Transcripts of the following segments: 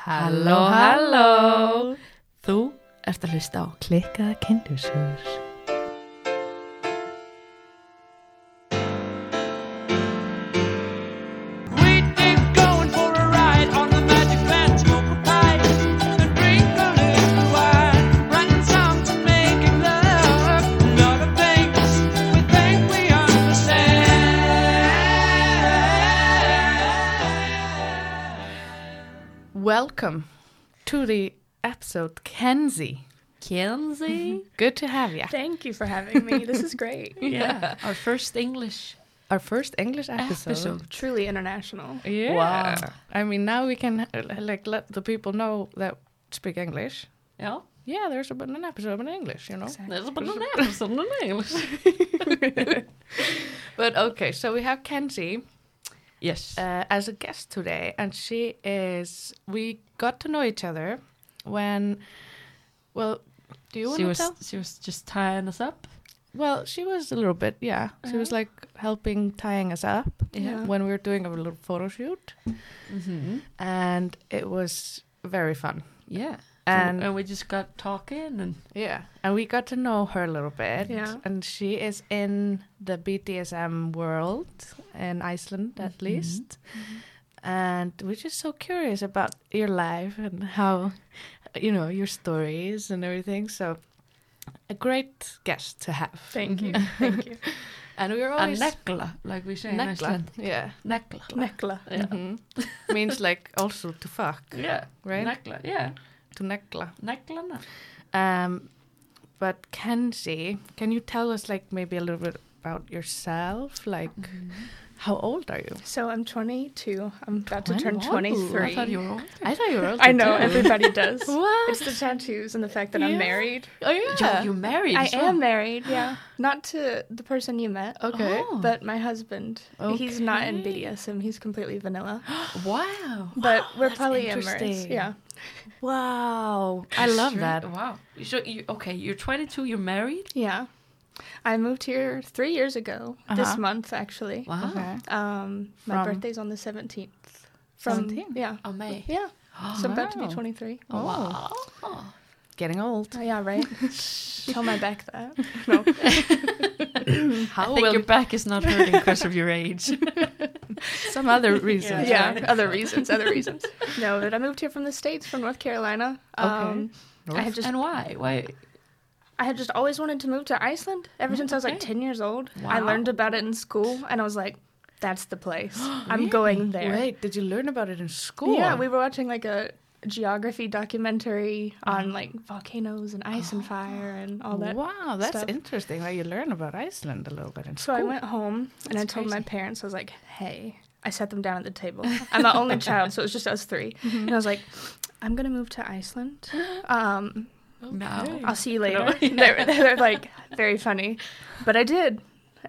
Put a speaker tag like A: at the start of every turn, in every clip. A: Halló, halló Þú ert að hlusta á klikkaða kindursögur Welcome to the episode Kenzie
B: Kenzie.
A: Good to have you
C: Thank you for having me. This is great.
B: Yeah. Our first English
A: Our first English episode,
B: episode.
C: Truly international.
A: Yeah
B: Wow.
A: I mean now we can uh, like let the people know that speak English
B: Já,
A: Yeah, there's a, an episode in English, you know
B: það er bara nefn English.
A: But okay, so we have Kenzie
B: Yes.
A: uh, as a guest today, and she is. We got to know each other when. Well, do you want
B: she
A: to
B: was
A: tell?
B: she was just tying us up.
A: Well, she was a little bit, yeah. She was like helping tying us up
C: Uh-huh. Yeah.
A: when we were doing a little photo shoot,
B: Mm-hmm.
A: and it was very fun.
B: Yeah.
C: Oh.
A: And-
B: And and we just got talking and
A: Yeah, and we got to know her a little bit.
C: Yeah.
A: and she is in the BDSM world in Iceland, at
C: Mm-hmm.
B: Mhm.
A: least. And we're just so curious about your life and how, you know, your stories and everything. So, a great guest to have.
C: Thank you. Thank you.
A: And we are
B: a
A: always
B: nekla, like we say in
A: Nekla.
B: Iceland.
A: Yeah,
B: Nekla.
C: Nekla.
B: Yeah.
A: Mhm. means like also to fuck,
B: Yeah.
A: right?
B: Nekla. Yeah.
A: to nekla.
B: Neklana.
A: Um, but Kenzie, can you tell us like maybe a little bit about yourself? Like, how old are you?
C: So I'm 22. I'm about to
B: Oh.
C: turn
B: 21.
C: 23.
B: I thought you were older.
A: I thought you were older.
C: I know
A: too.
C: everybody does.
A: What?
C: It's the tattoos and the fact that
A: Yeah.
C: I'm married.
A: oh yeah.
B: Yeah. You married.
C: I
B: as well.
C: am married. Yeah. Not to the person you met.
A: okay.
B: Oh.
C: But my husband, he's not in
A: Okay.
C: BDSM. He's completely vanilla.
B: Wow.
C: But we're
A: that's
C: polyamorous.
A: interesting.
C: Yeah.
A: Wow. I love
B: Sure.
A: that.
B: Wow. So you okay? You're 22. You're married.
C: Yeah. I moved here three years ago. This
A: Uh-huh.
C: month, actually.
B: Wow.
A: Okay.
C: Um, my
A: From-
C: birthday's on the 17th. From
A: 17th?
C: yeah,
B: Oh May.
C: yeah. So I'm about to Oh. be
A: Wow.
C: 23.
A: Oh.
B: Wow.
A: Getting old.
C: Oh, yeah, right. Tell my back that. No.
A: How
B: I think your back is not hurting because of your age.
A: some other reasons?
C: yeah,
A: right?
C: other reasons, other reasons. No, but I moved here from the states, from North Carolina. Um, I had just
B: and why? Why?
C: I had just always wanted to move to Iceland ever since I was like
B: okay.
C: 10 years old. I
B: Wow.
C: learned about it in school, and I was like, "That's the place. I'm going there."
A: Wait, did you learn about it in school?
C: Yeah, we were watching like a geography documentary on like volcanoes and ice and fire and all that.
A: wow, that's
C: stuff.
A: interesting. That you learn about Iceland a little bit in
C: So
A: school.
C: I went home and I
B: That's
C: told my
B: crazy.
C: parents, I was like, hey, I sat them down at the table. I'm the only child, so it was just us 3 And I was like, I'm going to move to Iceland. Um,
B: No.
C: I'll see you later. they're, they're like, very funny. But I did.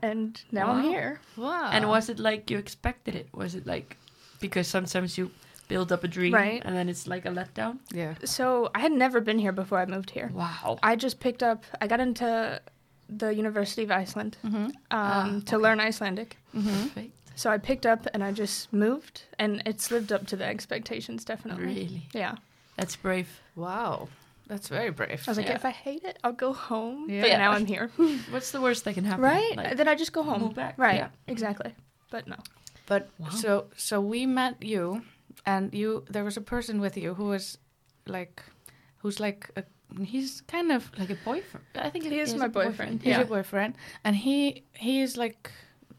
C: And now I'm
B: Wow.
C: here.
A: Wow.
B: And was it like you expected it? Was it like because sometimes you build up a dream
C: Right.
B: and then it's like a letdown?
A: yeah.
C: So I had never been here before I moved here.
B: Wow.
C: I just picked up, I got into the University of Iceland
B: Mm-hmm.
C: um,
B: Ah,
C: to learn Icelandic.
B: Perfect.
C: So I picked up and I just moved, and it's lived up to the expectations, definitely.
B: Really.
C: Yeah.
B: That's brave.
A: Wow. That's very brave.
C: I was like,
B: Yeah.
C: if I hate it, I'll go home.
A: Yeah.
C: But now I'm here.
B: What's the worst that can happen?
C: right?
B: Like,
C: then I just go home.
B: move back.
C: Right.
B: Yeah.
C: Exactly. But no.
A: But
B: Wow.
A: so so we met you, and you there was a person with you who was like, who's like a, he's kind of
B: like a boyfriend. I think
C: He
B: it
C: is
B: a
C: my boyfriend.
A: he's
C: Yeah.
A: your boyfriend, and he he is like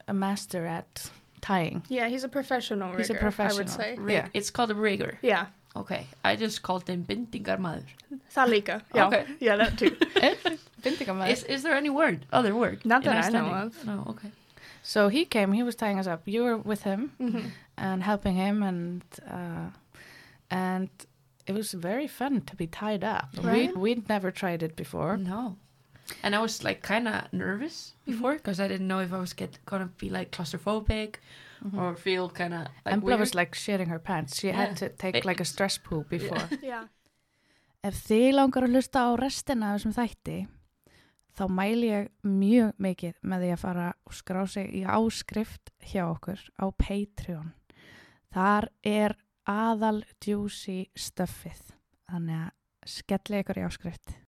A: a master at tying.
C: Yeah, he's a professional
A: He's a
C: rigger, I
A: professional.
C: would say.
B: Rig-
A: Yeah.
B: It's called a rigger.
C: Yeah.
B: Okay. I just called them bintingarmaður.
C: Thalika. Yeah.
B: Okay.
C: Yeah, that too.
B: Is, is there any word? Other word?
C: Not
B: in
C: that I know
B: Icelandic?
C: of.
B: No, okay.
A: so he came. He was tying us up. You were with him
C: Mhm.
A: and helping him, and uh, and it was very fun to be tied up.
C: Right?
A: We we'd never tried it before.
B: No. And I was like kind of nervous before because I didn't know if I was get gonna be like claustrophobic
D: Mm-hmm.
B: or feel kind of like
A: Mm-hmm. and Bella
B: weird.
A: was like shitting her pants. She had
B: Yeah.
A: to take
B: It-
A: like a stress poo before.
C: Yeah.
D: Ef þið langar að hlusta á restina af þessum þætti, þá mæli ég mjög mikið með því að fara og skrá sig í áskrift hjá okkur á Patreon. Þar er
A: aðal juicy stuffið þannig að skellið ykkur í áskrift